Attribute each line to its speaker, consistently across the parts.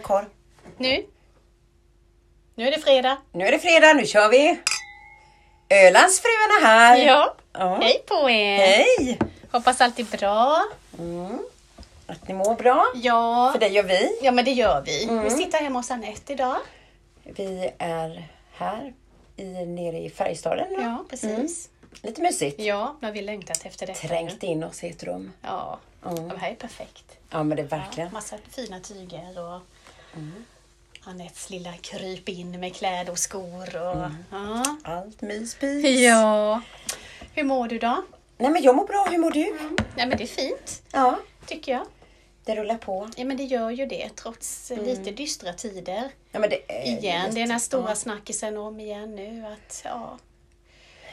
Speaker 1: kvar.
Speaker 2: Nu. Nu är det fredag.
Speaker 1: Nu är det fredag, nu kör vi! Ölandsfruarna här!
Speaker 2: Ja.
Speaker 1: Ja.
Speaker 2: Hej på er!
Speaker 1: Hej!
Speaker 2: Hoppas allt är bra.
Speaker 1: Mm. Att ni mår bra.
Speaker 2: Ja. Mm.
Speaker 1: För det gör vi.
Speaker 2: ja, men det gör vi. Vi sitter hemma hos Anette idag.
Speaker 1: Vi är här i, nere i Färjestaden. nu.
Speaker 2: Ja, Mm. precis.
Speaker 1: Lite mysigt.
Speaker 2: Ja, men vi har längtat efter det.
Speaker 1: Trängt in oss i ett rum.
Speaker 2: Ja.
Speaker 1: Mm.
Speaker 2: ja, det här är perfekt.
Speaker 1: Ja men det är
Speaker 2: Ja, Mm.
Speaker 1: verkligen.
Speaker 2: massa fina tyger och Anettes lilla kryp in med kläder och skor. Och, ja.
Speaker 1: Allt myspis.
Speaker 2: Mm. ja. Hur mår du då?
Speaker 1: Nej men jag mår bra, hur mår du?
Speaker 2: Nej, men det är fint,
Speaker 1: Ja,
Speaker 2: tycker jag.
Speaker 1: det rullar på.
Speaker 2: Ja, men det gör ju det trots eh, lite dystra tider.
Speaker 1: Ja, men det är
Speaker 2: Igen,
Speaker 1: lite-
Speaker 2: det är den här stora
Speaker 1: Ja.
Speaker 2: snackisen om igen nu att ja,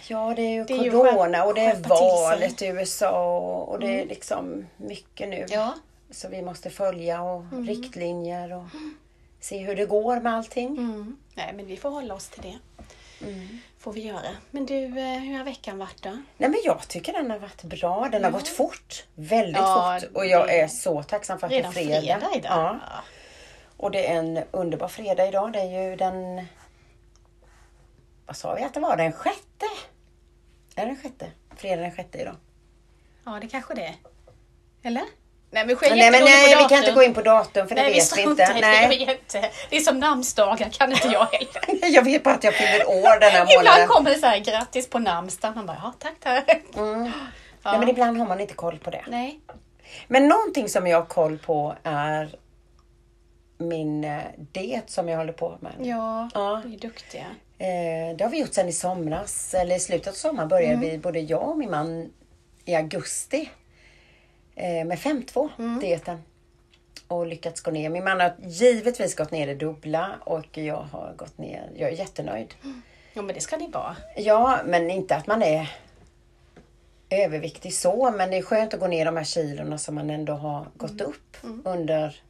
Speaker 1: Ja, det är ju
Speaker 2: Det är ju
Speaker 1: corona
Speaker 2: skär-
Speaker 1: och det är
Speaker 2: skärpa till sig. Mm.
Speaker 1: valet i USA och, och det är liksom mycket nu.
Speaker 2: ja, Mm.
Speaker 1: Så vi måste följa och riktlinjer och se hur det går med allting.
Speaker 2: mm. nej men vi får hålla oss till det. Får vi göra. Men du, eh, hur har veckan varit då?
Speaker 1: Nej men jag tycker den har varit bra. Den har gått fort. Väldigt
Speaker 2: Mm. Ja,
Speaker 1: fort. Och jag
Speaker 2: det-
Speaker 1: är så tacksam för att
Speaker 2: Redan
Speaker 1: det är fredag.
Speaker 2: fredag idag?
Speaker 1: Ja. Och det är en underbar fredag idag. Det är ju den... Vad sa vi att det var? Den sjätte? Är det den sjätte? Fredag den sjätte idag.
Speaker 2: Ja, det kanske det är. Eller? Nej, men
Speaker 1: Men nej, men nej vi kan inte gå
Speaker 2: in
Speaker 1: in på datum för det
Speaker 2: Nej, vi
Speaker 1: vet vi
Speaker 2: struntar
Speaker 1: inte.
Speaker 2: i det.
Speaker 1: Nej.
Speaker 2: Jag vet inte. Det är som namnsdagar, kan inte jag heller.
Speaker 1: Jag vet bara att jag fyller år den här månaden.
Speaker 2: Ibland kommer det så här, grattis på namnsdagen. Man bara, ja tack tack.
Speaker 1: Mm.
Speaker 2: Ja.
Speaker 1: Nej men ibland har man inte koll på det.
Speaker 2: Nej.
Speaker 1: Men någonting som jag har koll på är min eh, diet som jag håller på med.
Speaker 2: Ja,
Speaker 1: Ja.
Speaker 2: vi är duktiga.
Speaker 1: Eh, Det har vi gjort sedan i somras, eller i slutet av sommaren började
Speaker 2: Mm.
Speaker 1: vi, både jag och min man, i augusti eh, med 5-2
Speaker 2: Mm.
Speaker 1: dieten. Och lyckats gå ner. Min man har givetvis gått ner det dubbla och jag har gått ner, jag är jättenöjd.
Speaker 2: Jo, men det ska ni vara.
Speaker 1: Ja, men inte att man är överviktig så, men det är skönt att gå ner de här kilorna som man ändå har gått upp under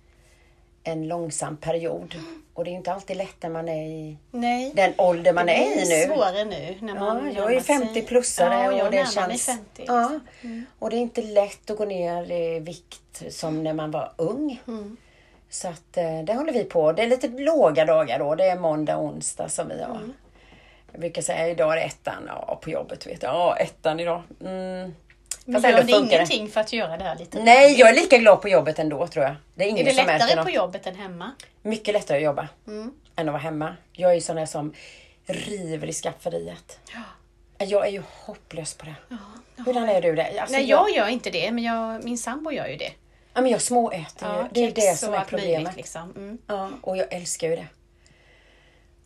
Speaker 1: en långsam period. Och det är inte alltid lätt när man är i
Speaker 2: Nej.
Speaker 1: den ålder man är
Speaker 2: Det
Speaker 1: i
Speaker 2: blir
Speaker 1: nu.
Speaker 2: svårare nu när man
Speaker 1: Ja,
Speaker 2: närmar
Speaker 1: jag är 50
Speaker 2: sig-
Speaker 1: plussare
Speaker 2: ja, jag
Speaker 1: och det
Speaker 2: närmar mig Mm.
Speaker 1: känns...
Speaker 2: 50.
Speaker 1: Ja. Och det är inte lätt att gå ner i vikt som när man var ung.
Speaker 2: Mm.
Speaker 1: Så att eh, det håller vi på. Det är lite låga dagar då. Det är måndag och onsdag som vi har.
Speaker 2: Mm.
Speaker 1: Jag brukar säga idag är det ettan. Ja, på jobbet vet jag. Ja, ettan idag. Mm.
Speaker 2: Men
Speaker 1: Fast
Speaker 2: gör
Speaker 1: ändå
Speaker 2: det
Speaker 1: funkar det.
Speaker 2: ingenting för att göra det här lite?
Speaker 1: Nej, jag är lika glad på jobbet ändå tror jag. Det är
Speaker 2: Är
Speaker 1: ingen
Speaker 2: det
Speaker 1: som märker
Speaker 2: lättare
Speaker 1: något.
Speaker 2: på Mm. jobbet än hemma?
Speaker 1: Mycket lättare att jobba än att vara hemma. Jag är ju sån där som river i skafferiet. Jag är ju hopplös på det. Hurdan är du där? Alltså,
Speaker 2: Nej, jag gör inte det, men jag, min sambo gör ju det.
Speaker 1: Ja, men jag småäter ju.
Speaker 2: Ja,
Speaker 1: det är
Speaker 2: kex
Speaker 1: det som
Speaker 2: och
Speaker 1: är
Speaker 2: allt
Speaker 1: problemet.
Speaker 2: möjligt, liksom. mm.
Speaker 1: Ja, och jag älskar ju det.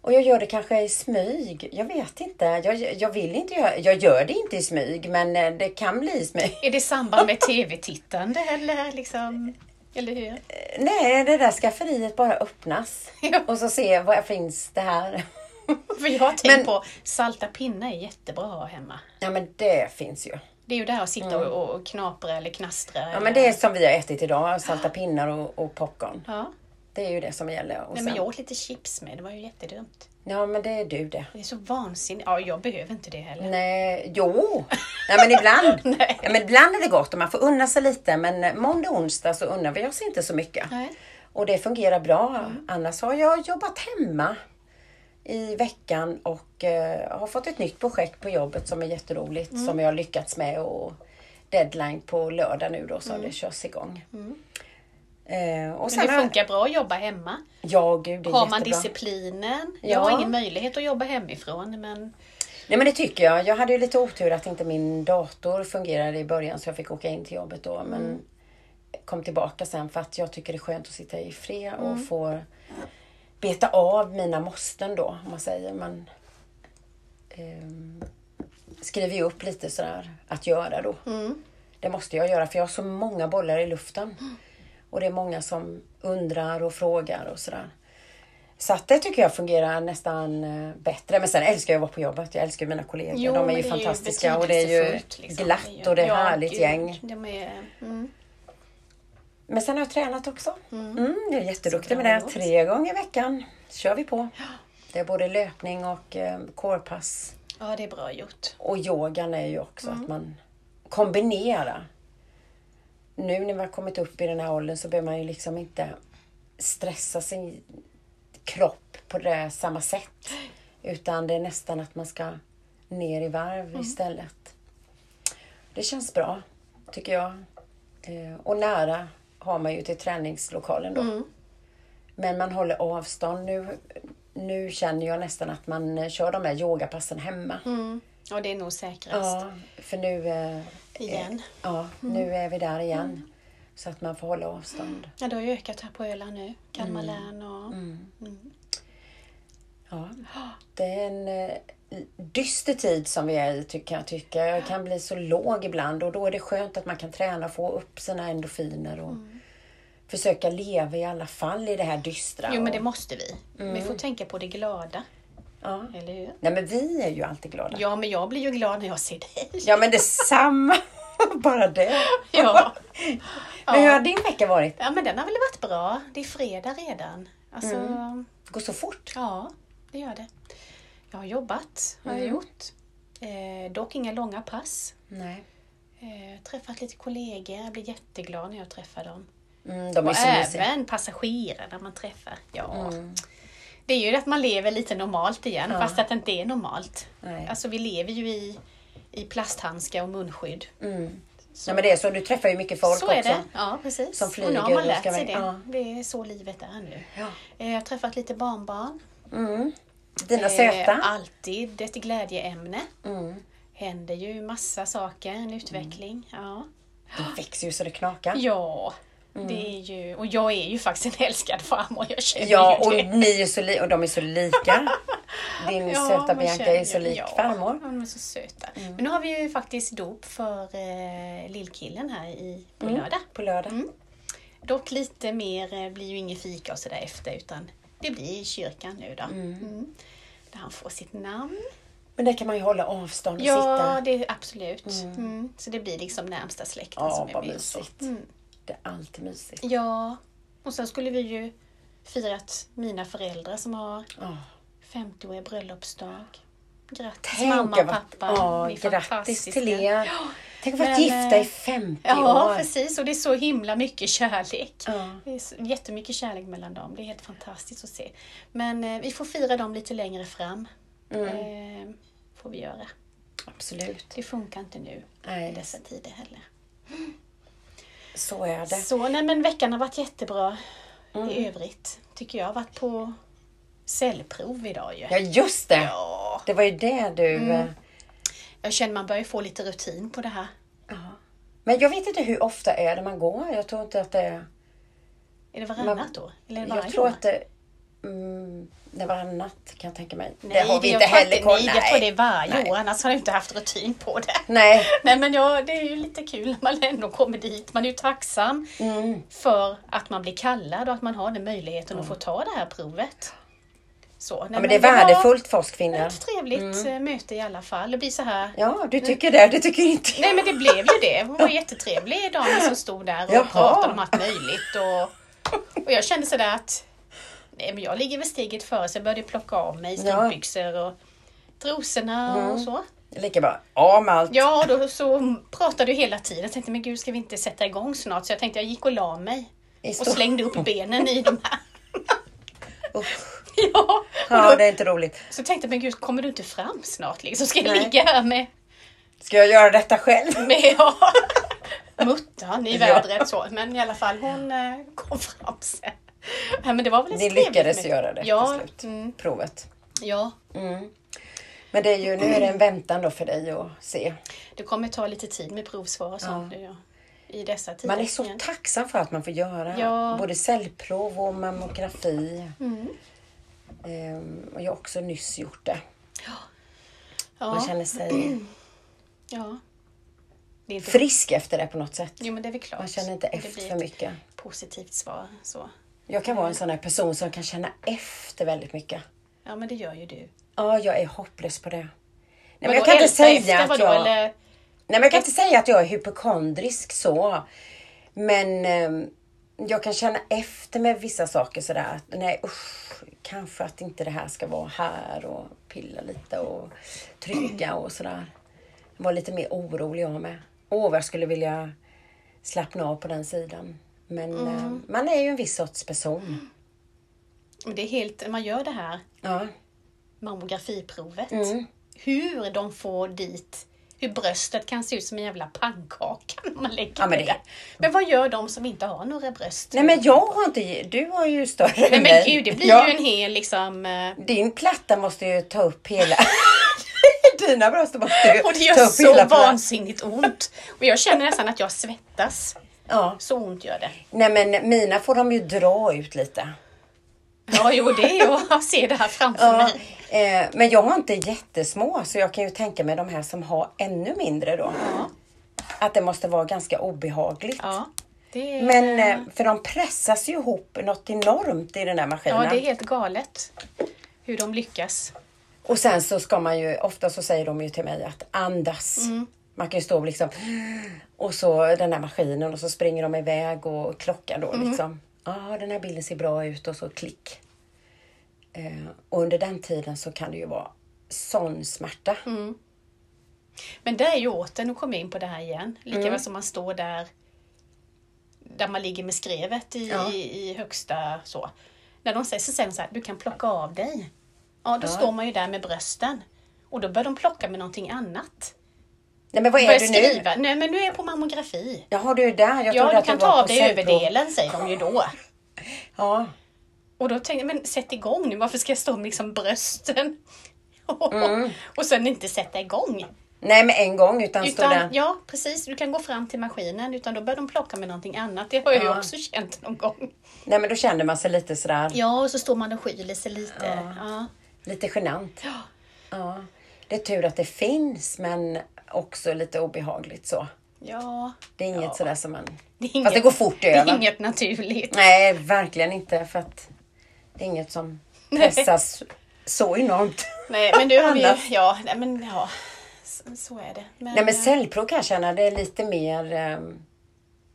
Speaker 1: Och jag gör det kanske i smyg. Jag vet inte. Jag, jag vill inte göra... Jag gör det inte i smyg, men eh, det kan bli i smyg.
Speaker 2: Är det i samband med tv-tittande eller liksom? Eller hur?
Speaker 1: Nej, det där skafferiet bara öppnas.
Speaker 2: Ja.
Speaker 1: Och så se vad finns det här.
Speaker 2: För jag har tänkt
Speaker 1: Men-
Speaker 2: på salta pinnar är jättebra att ha hemma.
Speaker 1: Ja, men det finns ju.
Speaker 2: Det är ju det här att sitta och, och knapra eller knastra.
Speaker 1: Mm. Ja, men det är som vi har ätit idag. Salta pinnar och, och popcorn.
Speaker 2: ja.
Speaker 1: Det är ju det som gäller. Och
Speaker 2: Nej, men
Speaker 1: sen-
Speaker 2: jag åt lite chips med, det var ju jättedumt.
Speaker 1: Ja, men det är du det.
Speaker 2: Det är så vansinnigt. Ja, jag behöver inte det heller.
Speaker 1: Nej, jo. Nej, men ibland.
Speaker 2: Nej.
Speaker 1: Ja, men ibland är det gott och man får unna sig lite. Men måndag och onsdag så unnar vi oss inte så mycket.
Speaker 2: Nej. Mm.
Speaker 1: Och det fungerar bra. Annars har jag jobbat hemma i veckan och eh, har fått ett nytt projekt på jobbet som är jätteroligt.
Speaker 2: Mm.
Speaker 1: Som jag har lyckats med och deadline på lördag nu då så det körs igång. Eh, och
Speaker 2: Mm. Men
Speaker 1: sen
Speaker 2: det
Speaker 1: har-
Speaker 2: funkar bra att jobba hemma.
Speaker 1: Ja, gud, det är
Speaker 2: Har man
Speaker 1: jättebra.
Speaker 2: disciplinen?
Speaker 1: Ja.
Speaker 2: Jag har ingen möjlighet att jobba hemifrån men
Speaker 1: Nej men det tycker jag. Jag hade ju lite otur att inte min dator fungerade i början så jag fick åka in till jobbet då. Men kom tillbaka sen för att jag tycker det är skönt att sitta i fred och få beta av mina måsten då. Om man säger. Man ehm, skriver ju upp lite sådär att göra då.
Speaker 2: Mm.
Speaker 1: Det måste jag göra för jag har så många bollar i luften. Och det är många som undrar och frågar och sådär. Så att det tycker jag fungerar nästan eh, bättre. Men sen älskar jag att vara på jobbet. Jag älskar ju mina kollegor.
Speaker 2: Jo,
Speaker 1: De
Speaker 2: men
Speaker 1: är ju
Speaker 2: det
Speaker 1: fantastiska och det är ju
Speaker 2: betydelsefullt, liksom.
Speaker 1: glatt
Speaker 2: Det är ju-
Speaker 1: och det är
Speaker 2: Ja,
Speaker 1: härligt
Speaker 2: gud.
Speaker 1: gäng.
Speaker 2: De är, mm.
Speaker 1: Men sen har jag tränat också. Mm. jag är jätteduktig
Speaker 2: Så
Speaker 1: med det.
Speaker 2: bra.
Speaker 1: Tre gånger i veckan kör vi på. Det är både löpning och eh, corepass.
Speaker 2: Ja, det är bra gjort.
Speaker 1: Och yogan är ju också att man kombinerar. Nu när man har kommit upp i den här åldern så behöver man ju liksom inte stressa sin kropp på det samma sätt. Utan det är nästan att man ska ner i varv istället. Det känns bra, tycker jag. Eh, och nära har man ju till träningslokalen då. Men man håller avstånd. Nu, nu känner jag nästan att man eh, kör de här yogapassen hemma.
Speaker 2: Mm. Och det är nog säkrast.
Speaker 1: Ja, för nu, eh,
Speaker 2: Igen.
Speaker 1: ja,
Speaker 2: Mm.
Speaker 1: nu är vi där igen. Så att man får hålla avstånd.
Speaker 2: Ja, det har ju ökat här på Öland nu. Kalmar län och...
Speaker 1: Ja. Det är en eh, dyster tid som vi är i, ty- kan jag tycka. Jag kan bli så låg ibland och då är det skönt att man kan träna och få upp sina endorfiner och
Speaker 2: Mm.
Speaker 1: försöka leva i alla fall i det här dystra.
Speaker 2: Jo, men det
Speaker 1: och,
Speaker 2: måste vi. Vi får tänka på det glada.
Speaker 1: ja.
Speaker 2: Eller hur?
Speaker 1: Nej, men vi är ju alltid glada.
Speaker 2: Ja, men jag blir ju glad när jag ser dig.
Speaker 1: Ja, men detsamma! Bara det.
Speaker 2: Ja.
Speaker 1: Men hur har din vecka varit?
Speaker 2: ja, men den har väl varit bra. Det är fredag redan. Alltså,
Speaker 1: Det går så fort.
Speaker 2: ja, det gör det. Jag har jobbat, har
Speaker 1: Mm.
Speaker 2: jag gjort. Eh, dock inga långa pass.
Speaker 1: Nej.
Speaker 2: Eh, träffat lite kollegor. Jag blir jätteglad när jag träffar dem.
Speaker 1: Mm, de är
Speaker 2: Och eh,
Speaker 1: så Mm. mysiga.
Speaker 2: även passagerarna man träffar. Ja. Det är ju att man lever lite normalt igen, fast att det inte är normalt.
Speaker 1: Nej.
Speaker 2: Alltså vi lever ju i, i plasthandskar och munskydd.
Speaker 1: Nej, men det är så. Du träffar ju mycket Mm. folk
Speaker 2: så
Speaker 1: också.
Speaker 2: är det. Ja, precis.
Speaker 1: Som
Speaker 2: och nu har
Speaker 1: flyger och
Speaker 2: man lärt
Speaker 1: ska
Speaker 2: sig
Speaker 1: vi-
Speaker 2: det.
Speaker 1: ja.
Speaker 2: Det är så livet är nu.
Speaker 1: Ja.
Speaker 2: Eh, Jag har träffat lite barnbarn.
Speaker 1: Mm. Dina
Speaker 2: Eh,
Speaker 1: söta.
Speaker 2: Alltid ett glädjeämne.
Speaker 1: Mm.
Speaker 2: Händer ju massa saker, en utveckling.
Speaker 1: Mm.
Speaker 2: Ja.
Speaker 1: De växer ju så det knakar.
Speaker 2: Ja,
Speaker 1: Mm.
Speaker 2: det är ju, och jag är ju faktiskt en älskad farmor. Jag känner
Speaker 1: Ja,
Speaker 2: ju
Speaker 1: och
Speaker 2: det.
Speaker 1: ni är så li- och de är så lika. Din söta
Speaker 2: man
Speaker 1: Bianca är
Speaker 2: känner-
Speaker 1: så lik
Speaker 2: ja,
Speaker 1: farmor. Mm.
Speaker 2: Ja, de är så söta. Men nu har vi ju faktiskt dop för eh, lillkillen här i, på lördag.
Speaker 1: Mm.
Speaker 2: Mm.
Speaker 1: På lördag.
Speaker 2: Dock lite mer, eh, blir ju inget fika och sådär efter utan det blir i kyrkan nu då. Mm. Där han får sitt namn.
Speaker 1: Men där kan man ju hålla avstånd och
Speaker 2: Ja,
Speaker 1: sitta.
Speaker 2: det är absolut. Mm. Så det blir liksom närmsta släkten
Speaker 1: Ja,
Speaker 2: som är
Speaker 1: vad
Speaker 2: med. och så.
Speaker 1: mysigt.
Speaker 2: Mm.
Speaker 1: Det är alltid mysigt.
Speaker 2: Ja, och sen skulle vi ju firat mina föräldrar som har
Speaker 1: Oh,
Speaker 2: 50-årig bröllopsdag. Grattis
Speaker 1: tänk
Speaker 2: mamma och
Speaker 1: vad-
Speaker 2: pappa.
Speaker 1: Ja,
Speaker 2: Ni är
Speaker 1: grattis
Speaker 2: fantastiska.
Speaker 1: till er. Tänk att vara
Speaker 2: Men,
Speaker 1: gifta i
Speaker 2: eh,
Speaker 1: 50
Speaker 2: Ja,
Speaker 1: år.
Speaker 2: precis. Och det är så himla mycket kärlek.
Speaker 1: Ja.
Speaker 2: Det är så- jättemycket kärlek mellan dem. Det är helt fantastiskt att se. Men eh, vi får fira dem lite längre fram.
Speaker 1: Mm.
Speaker 2: Eh, får vi göra.
Speaker 1: Absolut.
Speaker 2: Det funkar inte nu i
Speaker 1: Nej,
Speaker 2: dessa tider heller.
Speaker 1: så är det. Mm.
Speaker 2: Så, nej men veckan har varit jättebra i övrigt. Tycker jag. har varit på cellprov idag ju.
Speaker 1: Ja, just det.
Speaker 2: Ja. Mm.
Speaker 1: Det var ju det du... eh,
Speaker 2: Jag känner man börjar få lite rutin på det här.
Speaker 1: ja. Men jag vet inte hur ofta är det man går. Jag tror inte att det är...
Speaker 2: Är det varannat
Speaker 1: Man-
Speaker 2: då? Eller är det varje
Speaker 1: Jag tror
Speaker 2: år?
Speaker 1: att det... Mm, det var annat kan jag tänka mig.
Speaker 2: Nej,
Speaker 1: det har vi inte
Speaker 2: jag tror
Speaker 1: heller
Speaker 2: inte-
Speaker 1: koll
Speaker 2: Nej, jag tror det är varje
Speaker 1: Nej.
Speaker 2: år, annars har jag inte haft rutin på det.
Speaker 1: Nej.
Speaker 2: Nej men ja, det är ju lite kul när man ändå kommer dit. Man är ju tacksam
Speaker 1: Mm.
Speaker 2: för att man blir kallad och att man har den möjligheten att få ta det här provet. Så, nej,
Speaker 1: Ja, men det är
Speaker 2: var
Speaker 1: värdefullt Mm. för oss kvinnor.
Speaker 2: Ett trevligt eh, möte i alla fall. Det blir så här.
Speaker 1: Ja, du tycker det. Det tycker inte jag.
Speaker 2: Nej men det blev ju det. Hon var jättetrevlig damen som stod där och
Speaker 1: Jaha.
Speaker 2: pratade om allt möjligt. Och, och jag kände sådär att nej, men jag ligger väl steget före så jag började plocka av mig strumpbyxor och trosorna och
Speaker 1: Mm.
Speaker 2: så.
Speaker 1: Lika bra. Ja, med allt.
Speaker 2: Ja, och då så pratade du hela tiden. Jag tänkte, men gud, ska vi inte sätta igång snart? Så jag tänkte, jag gick och la mig
Speaker 1: I
Speaker 2: och
Speaker 1: stort.
Speaker 2: slängde upp benen i de här.
Speaker 1: Usch.
Speaker 2: Ja,
Speaker 1: Ja, det
Speaker 2: och då,
Speaker 1: är inte roligt.
Speaker 2: så tänkte jag, men gud, kommer du inte fram snart? Liksom? Ska jag
Speaker 1: Nej.
Speaker 2: ligga här med,
Speaker 1: Ska jag göra detta själv?
Speaker 2: med ja. muttan i
Speaker 1: Ja.
Speaker 2: vädret så. Men i alla fall, hon eh, kom fram sen. Ja, men det var väl ett
Speaker 1: Ni
Speaker 2: trevligt
Speaker 1: lyckades
Speaker 2: möte.
Speaker 1: göra det
Speaker 2: ja,
Speaker 1: till slut.
Speaker 2: Mm,
Speaker 1: Provet. Mm.
Speaker 2: ja,
Speaker 1: Men det är ju, nu är det en väntan då för dig att se.
Speaker 2: det kommer ta lite tid med provsvar och sånt nu, ja. i dessa tider.
Speaker 1: Man är så
Speaker 2: igen.
Speaker 1: tacksam för att man får göra
Speaker 2: Ja. Mm.
Speaker 1: både cellprov och mammografi. Ehm, och jag har också nyss gjort det. Man
Speaker 2: ja,
Speaker 1: känner sig
Speaker 2: ja. Det är inte
Speaker 1: frisk efter det på något sätt.
Speaker 2: Jo men det är väl klart.
Speaker 1: Man känner inte
Speaker 2: Om det
Speaker 1: efter
Speaker 2: blir
Speaker 1: för
Speaker 2: ett
Speaker 1: mycket.
Speaker 2: positivt svar så.
Speaker 1: Jag kan vara en sån här person som kan känna efter väldigt mycket.
Speaker 2: Ja men det gör ju du. Nej,
Speaker 1: Ja, jag är hopplös på det. Nej, men, jag kan inte säga
Speaker 2: efter,
Speaker 1: att
Speaker 2: vadå,
Speaker 1: jag...
Speaker 2: eller?
Speaker 1: Nej, men jag kan inte säga att jag är hypokondrisk så. Men ehm, jag kan känna efter med vissa saker sådär. att, Nej usch, kanske att inte det här ska vara här och pilla lite och trycka och sådär. Jag var lite mer orolig jag med. Åh, vad jag skulle vilja slappna av på den sidan. Men
Speaker 2: Mm.
Speaker 1: eh, man är ju en viss sorts person.
Speaker 2: Men det är helt, man gör det här
Speaker 1: Ja.
Speaker 2: Mm. mammografiprovet.
Speaker 1: Mm.
Speaker 2: Hur de får dit, hur bröstet kan se ut som en jävla pannkaka när man lägger
Speaker 1: Ja, men
Speaker 2: det
Speaker 1: det-
Speaker 2: där. Men vad gör de som inte har några bröst?
Speaker 1: Nej men jag har inte, du har ju större
Speaker 2: Nej
Speaker 1: än
Speaker 2: men
Speaker 1: mig.
Speaker 2: gud, det blir
Speaker 1: Ja.
Speaker 2: ju en hel liksom... eh,
Speaker 1: Din platta måste ju ta upp hela... Dina bröst måste ju
Speaker 2: Och det gör
Speaker 1: ta upp
Speaker 2: så
Speaker 1: hela plattan.
Speaker 2: vansinnigt ont. Och jag känner nästan att jag svettas.
Speaker 1: Ja.
Speaker 2: Så ont gör det.
Speaker 1: Nej men mina får de ju dra ut lite.
Speaker 2: Ja, jo det är ju att se det här framför
Speaker 1: Ja,
Speaker 2: mig.
Speaker 1: eh, men jag har inte jättesmå så jag kan ju tänka mig de här som har ännu mindre då.
Speaker 2: Ja,
Speaker 1: Att det måste vara ganska obehagligt.
Speaker 2: ja, det är,
Speaker 1: Men eh, för de pressas ju ihop något enormt i den där maskinen.
Speaker 2: ja, det är helt galet hur de lyckas.
Speaker 1: Och sen så ska man ju, ofta så säger de ju till mig att andas.
Speaker 2: Mm.
Speaker 1: Man kan ju stå och liksom och så den där maskinen och så springer de iväg och klockan då
Speaker 2: Mm.
Speaker 1: liksom. Ja, ah, den här bilden ser bra ut och så klick. Eh, och under den tiden så kan det ju vara sån smärta.
Speaker 2: Mm. Men det är ju åter, nu kommer jag in på det här igen, lika
Speaker 1: Mm.
Speaker 2: väl som man står där där man ligger med skrevet i,
Speaker 1: Ja.
Speaker 2: i högsta så. När de säger så säger de så här, du kan plocka av dig. Ja, då står man ju där med brösten. Och då börjar de plocka med någonting annat.
Speaker 1: Nej men vad är
Speaker 2: Börjar
Speaker 1: du nu?
Speaker 2: skriva, nej men nu är jag på mammografi.
Speaker 1: Jaha, du är där. Jag trodde
Speaker 2: Ja, du
Speaker 1: att
Speaker 2: kan
Speaker 1: du var
Speaker 2: ta av
Speaker 1: på
Speaker 2: dig
Speaker 1: cellprov.
Speaker 2: överdelen säger de ju då.
Speaker 1: Ja.
Speaker 2: Och då tänkte jag, men sätt igång nu, varför ska jag stå med liksom brösten?
Speaker 1: Mm.
Speaker 2: och sen inte sätta igång.
Speaker 1: Nej, men en gång utan, stå
Speaker 2: Utan,
Speaker 1: där.
Speaker 2: ja, precis, du kan gå fram till maskinen, utan då börjar de plocka med någonting annat. Det har jag ju
Speaker 1: Ja.
Speaker 2: också känt någon gång.
Speaker 1: Nej, men då kände man sig lite sådär,
Speaker 2: Ja, och så står man och skyler sig lite. Ja.
Speaker 1: lite genant. Ja. Det är tur att det finns, men också lite obehagligt så.
Speaker 2: ja.
Speaker 1: Det är inget sådär som man...
Speaker 2: Det är
Speaker 1: Fast det går fort
Speaker 2: Det är
Speaker 1: över.
Speaker 2: inget naturligt.
Speaker 1: Nej, verkligen inte. För att det är inget som pressas så enormt.
Speaker 2: Nej, men du har vi ju,
Speaker 1: Annars.
Speaker 2: ja, nej, men ja, så, så är det. Men,
Speaker 1: Nej, men
Speaker 2: eh,
Speaker 1: cellprov kan jag känna, det är lite mer... ehm,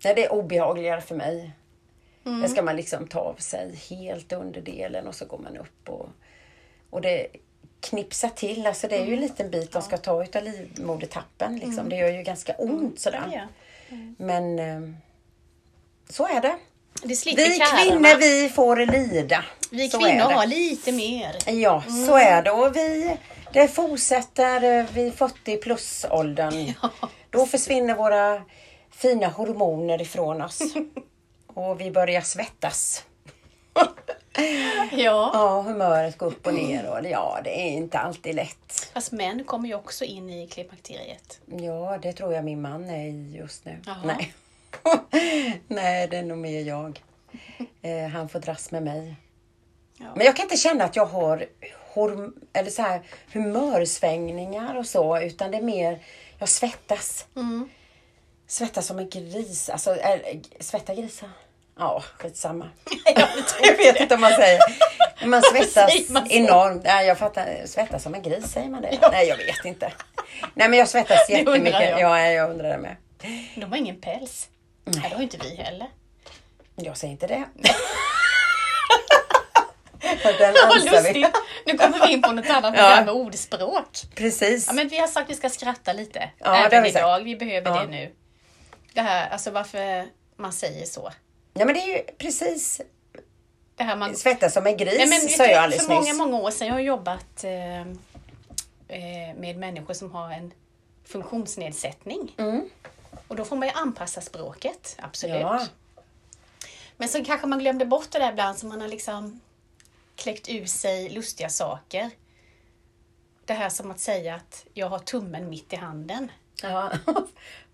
Speaker 1: Nej, det är obehagligare för mig.
Speaker 2: Mm.
Speaker 1: Där ska man liksom ta av sig helt underdelen och så går man upp och, och det knipsar till. Alltså det är ju
Speaker 2: Mm.
Speaker 1: en liten bit de ska ta utav livmodertappen. Liksom. Det gör ju ganska ont sådär.
Speaker 2: Mm. ja.
Speaker 1: Men ehm, så är det.
Speaker 2: Det slipper
Speaker 1: Vi
Speaker 2: kärarna.
Speaker 1: kvinnor, vi får lida.
Speaker 2: vi
Speaker 1: Så är
Speaker 2: kvinnor
Speaker 1: det.
Speaker 2: har lite mer.
Speaker 1: Ja, så är det. Och vi, det fortsätter eh, vid 40 plus-åldern. Då försvinner våra fina hormoner ifrån oss. och vi börjar svettas.
Speaker 2: Ja.
Speaker 1: Ja, humöret går upp och ner. Och det- ja, det är inte alltid lätt.
Speaker 2: Fast män kommer ju också in i klimakteriet.
Speaker 1: Ja, det tror jag min man är i just nu.
Speaker 2: Jaha.
Speaker 1: Nej. Nej, det är nog mer jag. Eh, han får dras med mig.
Speaker 2: Ja.
Speaker 1: Men jag kan inte känna att jag har horm- eller så här, humörsvängningar och så, utan det är mer, jag svettas.
Speaker 2: Mm.
Speaker 1: Svettas som en gris. Alltså, är, svettar grisar? Ja, skitsamma. jag vet inte om man säger. Men Man svettas
Speaker 2: Säger man så?
Speaker 1: enormt. Nej, jag fattar. Svettas som en gris, säger man det? Nej, jag vet inte. Nej, men jag svettas
Speaker 2: undrar
Speaker 1: jättemycket.
Speaker 2: jag.
Speaker 1: Ja, jag undrar det med.
Speaker 2: De har ingen päls. Nej, det har ju inte vi heller.
Speaker 1: Jag säger inte det. Den
Speaker 2: Vad
Speaker 1: ansar vi.
Speaker 2: lustigt! Nu kommer vi in på något annat, det
Speaker 1: Ja.
Speaker 2: här med ordspråk.
Speaker 1: Precis.
Speaker 2: Ja, men vi har sagt att vi ska skratta lite.
Speaker 1: Ja, det har
Speaker 2: Även
Speaker 1: vi sagt.
Speaker 2: idag, vi behöver
Speaker 1: Ja.
Speaker 2: det nu. Det här, alltså varför man säger så.
Speaker 1: Nej, men det är ju precis
Speaker 2: Det här man...
Speaker 1: Svettas som en gris,
Speaker 2: Nej, men vet
Speaker 1: sa
Speaker 2: du,
Speaker 1: jag alldeles
Speaker 2: för många,
Speaker 1: nyss.
Speaker 2: många år sedan, jag har jobbat eh, eh, med människor som har en funktionsnedsättning. Och då får man ju anpassa språket, absolut.
Speaker 1: Mm. Ja.
Speaker 2: Men så kanske man glömde bort det där ibland som man har liksom kläckt ur sig lustiga saker. Det här som att säga att jag har tummen mitt i handen.
Speaker 1: ja.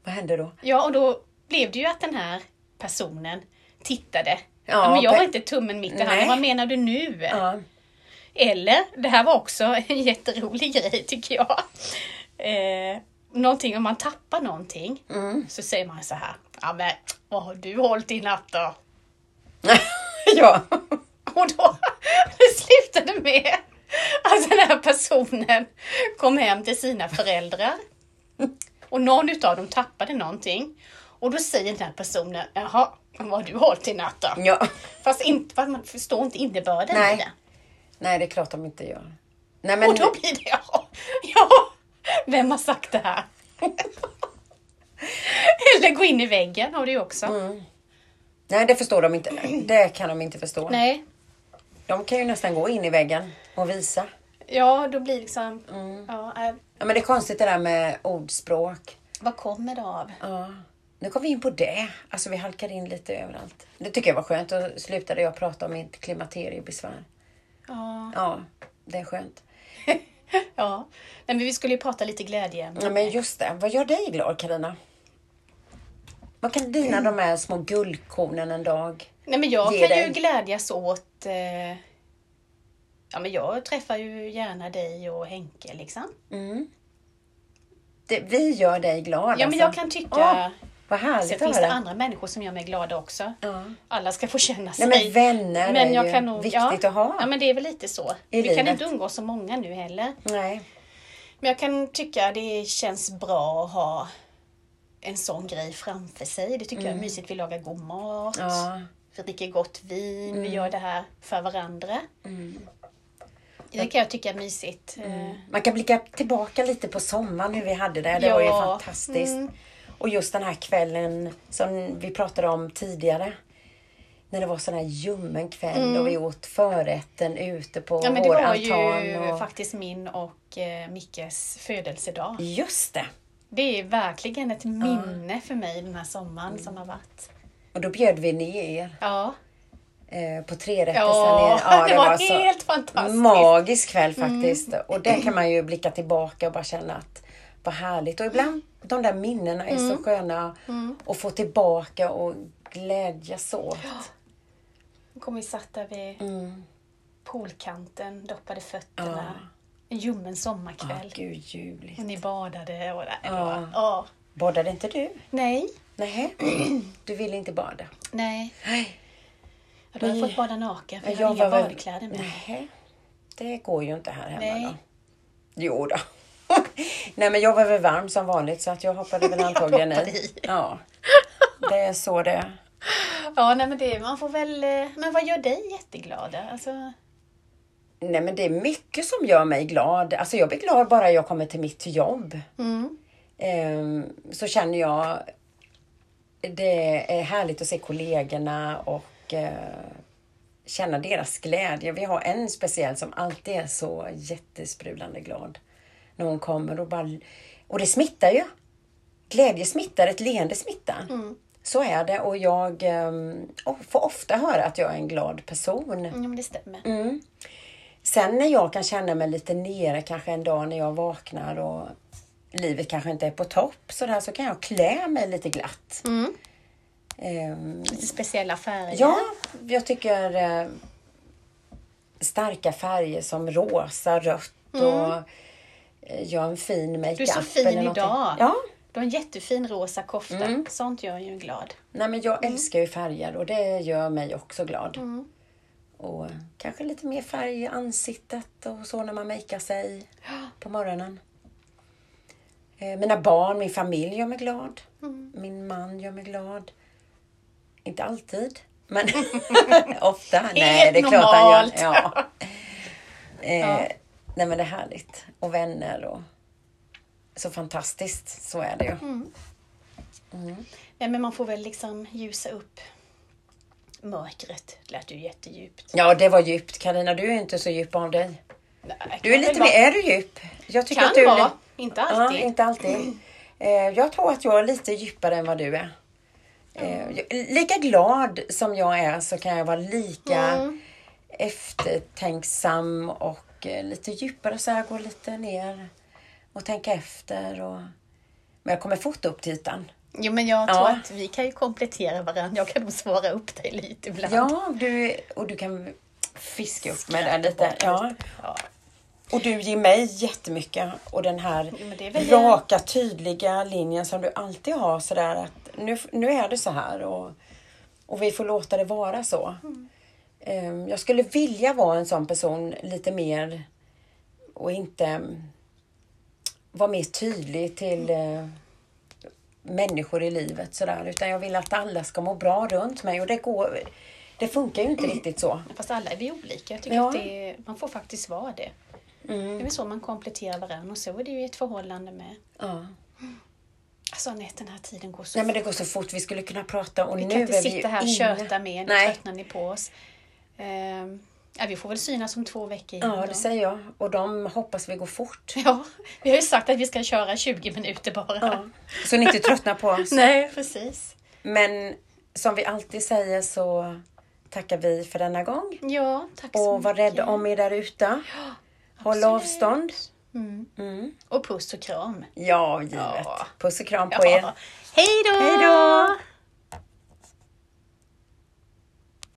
Speaker 1: Vad hände då?
Speaker 2: Ja, och då blev det ju att den här personen tittade. Ja,
Speaker 1: Ja,
Speaker 2: men jag har
Speaker 1: pe-
Speaker 2: inte tummen mitt i handen,
Speaker 1: Nej.
Speaker 2: vad menar du nu?
Speaker 1: Ja.
Speaker 2: Eller, det här var också en jätterolig grej tycker jag. Eh, någonting om man tappar någonting
Speaker 1: Mm.
Speaker 2: så säger man så här. Ja men vad har du hållit i natt då?
Speaker 1: ja.
Speaker 2: Och då det slutade med att den här personen kom hem till sina föräldrar och någon utav dem tappade någonting. Och då säger den här personen, jaha, vad har du hållit i natt då?
Speaker 1: ja.
Speaker 2: Fast inte, fast man förstår inte innebörden i
Speaker 1: Nej.
Speaker 2: det.
Speaker 1: Nej, det är klart de inte gör. Nej, men
Speaker 2: Och då blir det, ja, ja, vem har sagt det här? Eller gå in i väggen har du ju också.
Speaker 1: Mm. Nej, det förstår de inte. Det kan de inte förstå.
Speaker 2: Nej,
Speaker 1: De kan ju nästan gå in i väggen och visa.
Speaker 2: ja då blir liksom...
Speaker 1: Mm.
Speaker 2: Ja, äh,
Speaker 1: Ja, men det är konstigt det där med ordspråk.
Speaker 2: vad kommer det av?
Speaker 1: Ja. Nu kom vi in på det. Alltså vi halkar in lite överallt. Det tycker jag var skönt. Då slutade jag prata om mitt klimakteriebesvär.
Speaker 2: Ja,
Speaker 1: Ja, det är skönt.
Speaker 2: ja. Nej, men vi skulle ju prata lite glädje.
Speaker 1: Ja, men just det. Vad gör dig glad Karina? Vad kan dina de här små guldkornen en dag?
Speaker 2: Nej, men jag
Speaker 1: Ge
Speaker 2: kan
Speaker 1: dig.
Speaker 2: ju glädjas åt... Eh, ja, men jag träffar ju gärna dig och Henke liksom.
Speaker 1: Det, vi gör dig glad.
Speaker 2: Ja, men
Speaker 1: alltså.
Speaker 2: jag kan tycka...
Speaker 1: Åh, vad
Speaker 2: Sen
Speaker 1: härligt att
Speaker 2: finns det
Speaker 1: höra.
Speaker 2: andra människor som gör mig glada också.
Speaker 1: Ja.
Speaker 2: Alla ska få känna sig.
Speaker 1: Nej, men vänner
Speaker 2: Men
Speaker 1: är
Speaker 2: jag
Speaker 1: ju
Speaker 2: kan nog,
Speaker 1: viktigt
Speaker 2: ja,
Speaker 1: att ha.
Speaker 2: Ja, men det är väl lite så. Vi kan
Speaker 1: livet.
Speaker 2: inte umgås så många nu heller.
Speaker 1: Nej.
Speaker 2: Men jag kan tycka det känns bra att ha en sån grej framför sig. Det tycker jag är mysigt. Vi lagar god mat,
Speaker 1: Mm. Ja.
Speaker 2: vi dricker gott vin, vi
Speaker 1: Mm.
Speaker 2: gör det här för varandra. Det kan jag tycka är mysigt.
Speaker 1: Mm.
Speaker 2: Eh,
Speaker 1: Man kan blicka tillbaka lite på sommaren, hur vi hade det. Det var ju
Speaker 2: Ja.
Speaker 1: fantastiskt.
Speaker 2: Mm.
Speaker 1: Och just den här kvällen som vi pratade om tidigare. När det var sån här ljummen kväll och vi åt förrätten ute på
Speaker 2: Mm. Ja, men det
Speaker 1: vår
Speaker 2: var
Speaker 1: altan.
Speaker 2: ju
Speaker 1: och...
Speaker 2: faktiskt min och eh, Mickes födelsedag.
Speaker 1: Just det!
Speaker 2: Det är verkligen ett minne för mig den här sommaren som har varit.
Speaker 1: Och då bjöd vi ner
Speaker 2: Ja,
Speaker 1: eh, på tre rätter
Speaker 2: ja.
Speaker 1: sen. Ja,
Speaker 2: det, var, helt fantastiskt. Mm.
Speaker 1: magisk kväll faktiskt. Och det kan man ju blicka tillbaka och bara känna att vad härligt. Och ibland, de där minnena är
Speaker 2: Mm.
Speaker 1: så sköna att få tillbaka och glädjas åt.
Speaker 2: Då kom vi satt där vid
Speaker 1: Mm.
Speaker 2: poolkanten, doppade fötterna. En ljummen
Speaker 1: Ja,
Speaker 2: sommarkväll.
Speaker 1: gud, ljuvligt.
Speaker 2: och ni badade och det, det
Speaker 1: Ja.
Speaker 2: var, ja.
Speaker 1: Badade inte du?
Speaker 2: Nej,
Speaker 1: Nej. Du ville inte bada?
Speaker 2: nej.
Speaker 1: Nej.
Speaker 2: Ja, då har jag
Speaker 1: Nej.
Speaker 2: fått bada naken för jag, Mm.
Speaker 1: Jag
Speaker 2: har inga
Speaker 1: var väl-
Speaker 2: badkläder med.
Speaker 1: Nej. Det går ju inte här hemma
Speaker 2: Nej.
Speaker 1: då. Jo då. Nej men jag var väl varm som vanligt så att jag hoppade väl
Speaker 2: Jag
Speaker 1: antagligen
Speaker 2: hoppade
Speaker 1: i.
Speaker 2: i.
Speaker 1: Ja. Det är så det är.
Speaker 2: Ja, nej men det, man får väl... eh, Men vad gör dig jätteglad? Alltså,
Speaker 1: Nej men det är mycket som gör mig glad. Alltså jag blir glad bara jag kommer till mitt jobb. Ehm, så känner jag det är härligt att se kollegorna och eh, känna deras glädje. Vi har en speciell som alltid är så jättesprudlande glad när hon kommer och bara... Och det smittar ju! Glädje smittar, ett leende smittar. Så är det och jag ehm, och får ofta höra att jag är en glad person.
Speaker 2: ja, men det stämmer.
Speaker 1: Mm. Sen när jag kan känna mig lite nere kanske en dag när jag vaknar och livet kanske inte är på topp sådär så kan jag klä mig lite glatt.
Speaker 2: Mm.
Speaker 1: Ehm,
Speaker 2: Lite speciella färger.
Speaker 1: ja, jag tycker eh, starka färger som rosa, rött och eh, gör en fin makeup.
Speaker 2: Mm. Du är så fin
Speaker 1: eller någonting.
Speaker 2: idag.
Speaker 1: Ja,
Speaker 2: Du har en jättefin rosa kofta.
Speaker 1: Mm.
Speaker 2: Sånt gör ju en glad.
Speaker 1: nej men jag älskar ju färger och det gör mig också glad. Och kanske lite mer färg i ansiktet och så när man makear sig på morgonen. Eh, Mina barn, min familj gör mig glad. Min man gör mig glad. Inte alltid, men ofta. Nej, det är klart han gör.
Speaker 2: normalt.
Speaker 1: Ja. Eh, Nej, men det är härligt. Och vänner och så fantastiskt. Så är det ju.
Speaker 2: Nej, men man får väl liksom ljusa upp mörkret. Det lät ju jättedjupt.
Speaker 1: Ja, det var djupt. Karina, du är inte så djup av dig.
Speaker 2: Nej,
Speaker 1: Du är
Speaker 2: kan
Speaker 1: lite
Speaker 2: väl
Speaker 1: mer,
Speaker 2: vara-
Speaker 1: är du djup? Jag tycker
Speaker 2: Kan
Speaker 1: att du är
Speaker 2: vara,
Speaker 1: li-
Speaker 2: inte
Speaker 1: Ja,
Speaker 2: alltid.
Speaker 1: inte alltid. Eh, jag tror att jag är lite djupare än vad du är. Eh, jag- lika glad som jag är så kan jag vara lika eftertänksam och eh, lite djupare så här, gå lite ner och tänka efter. Och... Men jag kommer fort upp till ytan.
Speaker 2: Jo, men jag tror
Speaker 1: Ja.
Speaker 2: att vi kan ju komplettera varandra. Jag kan nog svara upp dig lite ibland.
Speaker 1: Ja, du, och du kan fiska upp med det lite.
Speaker 2: Tillbaka
Speaker 1: Ja.
Speaker 2: lite. Ja.
Speaker 1: Och du ger mig jättemycket och den här
Speaker 2: men det är väl-
Speaker 1: raka tydliga linjen som du alltid har sådär att nu, nu är det så här och, och vi får låta det vara så.
Speaker 2: Mm.
Speaker 1: Ehm, Jag skulle vilja vara en sån person lite mer och inte mm, vara mer tydlig till
Speaker 2: Mm.
Speaker 1: eh, människor i livet sådär utan jag vill att alla ska må bra runt mig och det går det funkar ju inte riktigt så.
Speaker 2: Fast alla är vi olika. Jag tycker
Speaker 1: Ja.
Speaker 2: att det är, man får faktiskt vara det. Mm. Det är väl så man kompletterar varandra och så är det ju i ett förhållande med.
Speaker 1: Ja.
Speaker 2: Alltså Anette, den här tiden går så
Speaker 1: Nej men
Speaker 2: fort.
Speaker 1: det går så fort, vi skulle kunna prata och
Speaker 2: Vi
Speaker 1: nu
Speaker 2: kan inte
Speaker 1: är vi ju
Speaker 2: sitta här och
Speaker 1: inne.
Speaker 2: köta mer, nu
Speaker 1: Nej.
Speaker 2: tröttnar ni på oss. Ehm, ja, vi får väl synas om två veckor igen
Speaker 1: Ja,
Speaker 2: då.
Speaker 1: det säger jag. Och de hoppas vi går fort.
Speaker 2: ja, vi har ju sagt att vi ska köra 20 minuter bara.
Speaker 1: Ja. Så ni inte tröttnar på oss.
Speaker 2: Nej, precis.
Speaker 1: Men som vi alltid säger så tackar vi för denna gång.
Speaker 2: Ja, tack så
Speaker 1: Och var
Speaker 2: mycket.
Speaker 1: rädda om er där ute. Håll
Speaker 2: absolut.
Speaker 1: avstånd.
Speaker 2: Mm.
Speaker 1: Mm.
Speaker 2: Och puss och kram.
Speaker 1: Ja, givet.
Speaker 2: Ja.
Speaker 1: Puss och kram på er.
Speaker 2: Ja. Hej då!
Speaker 1: Hej då!